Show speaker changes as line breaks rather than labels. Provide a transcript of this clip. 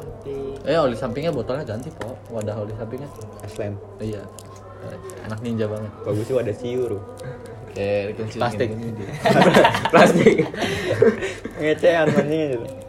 samping
Eh oli sampingnya botolnya ganti po Wadah oli sampingnya
Aslan.
Iya Anak ninja banget
Kalau gue sih wadah siur.
Kayak plastik
Plastik. Ngecean anjing gitu.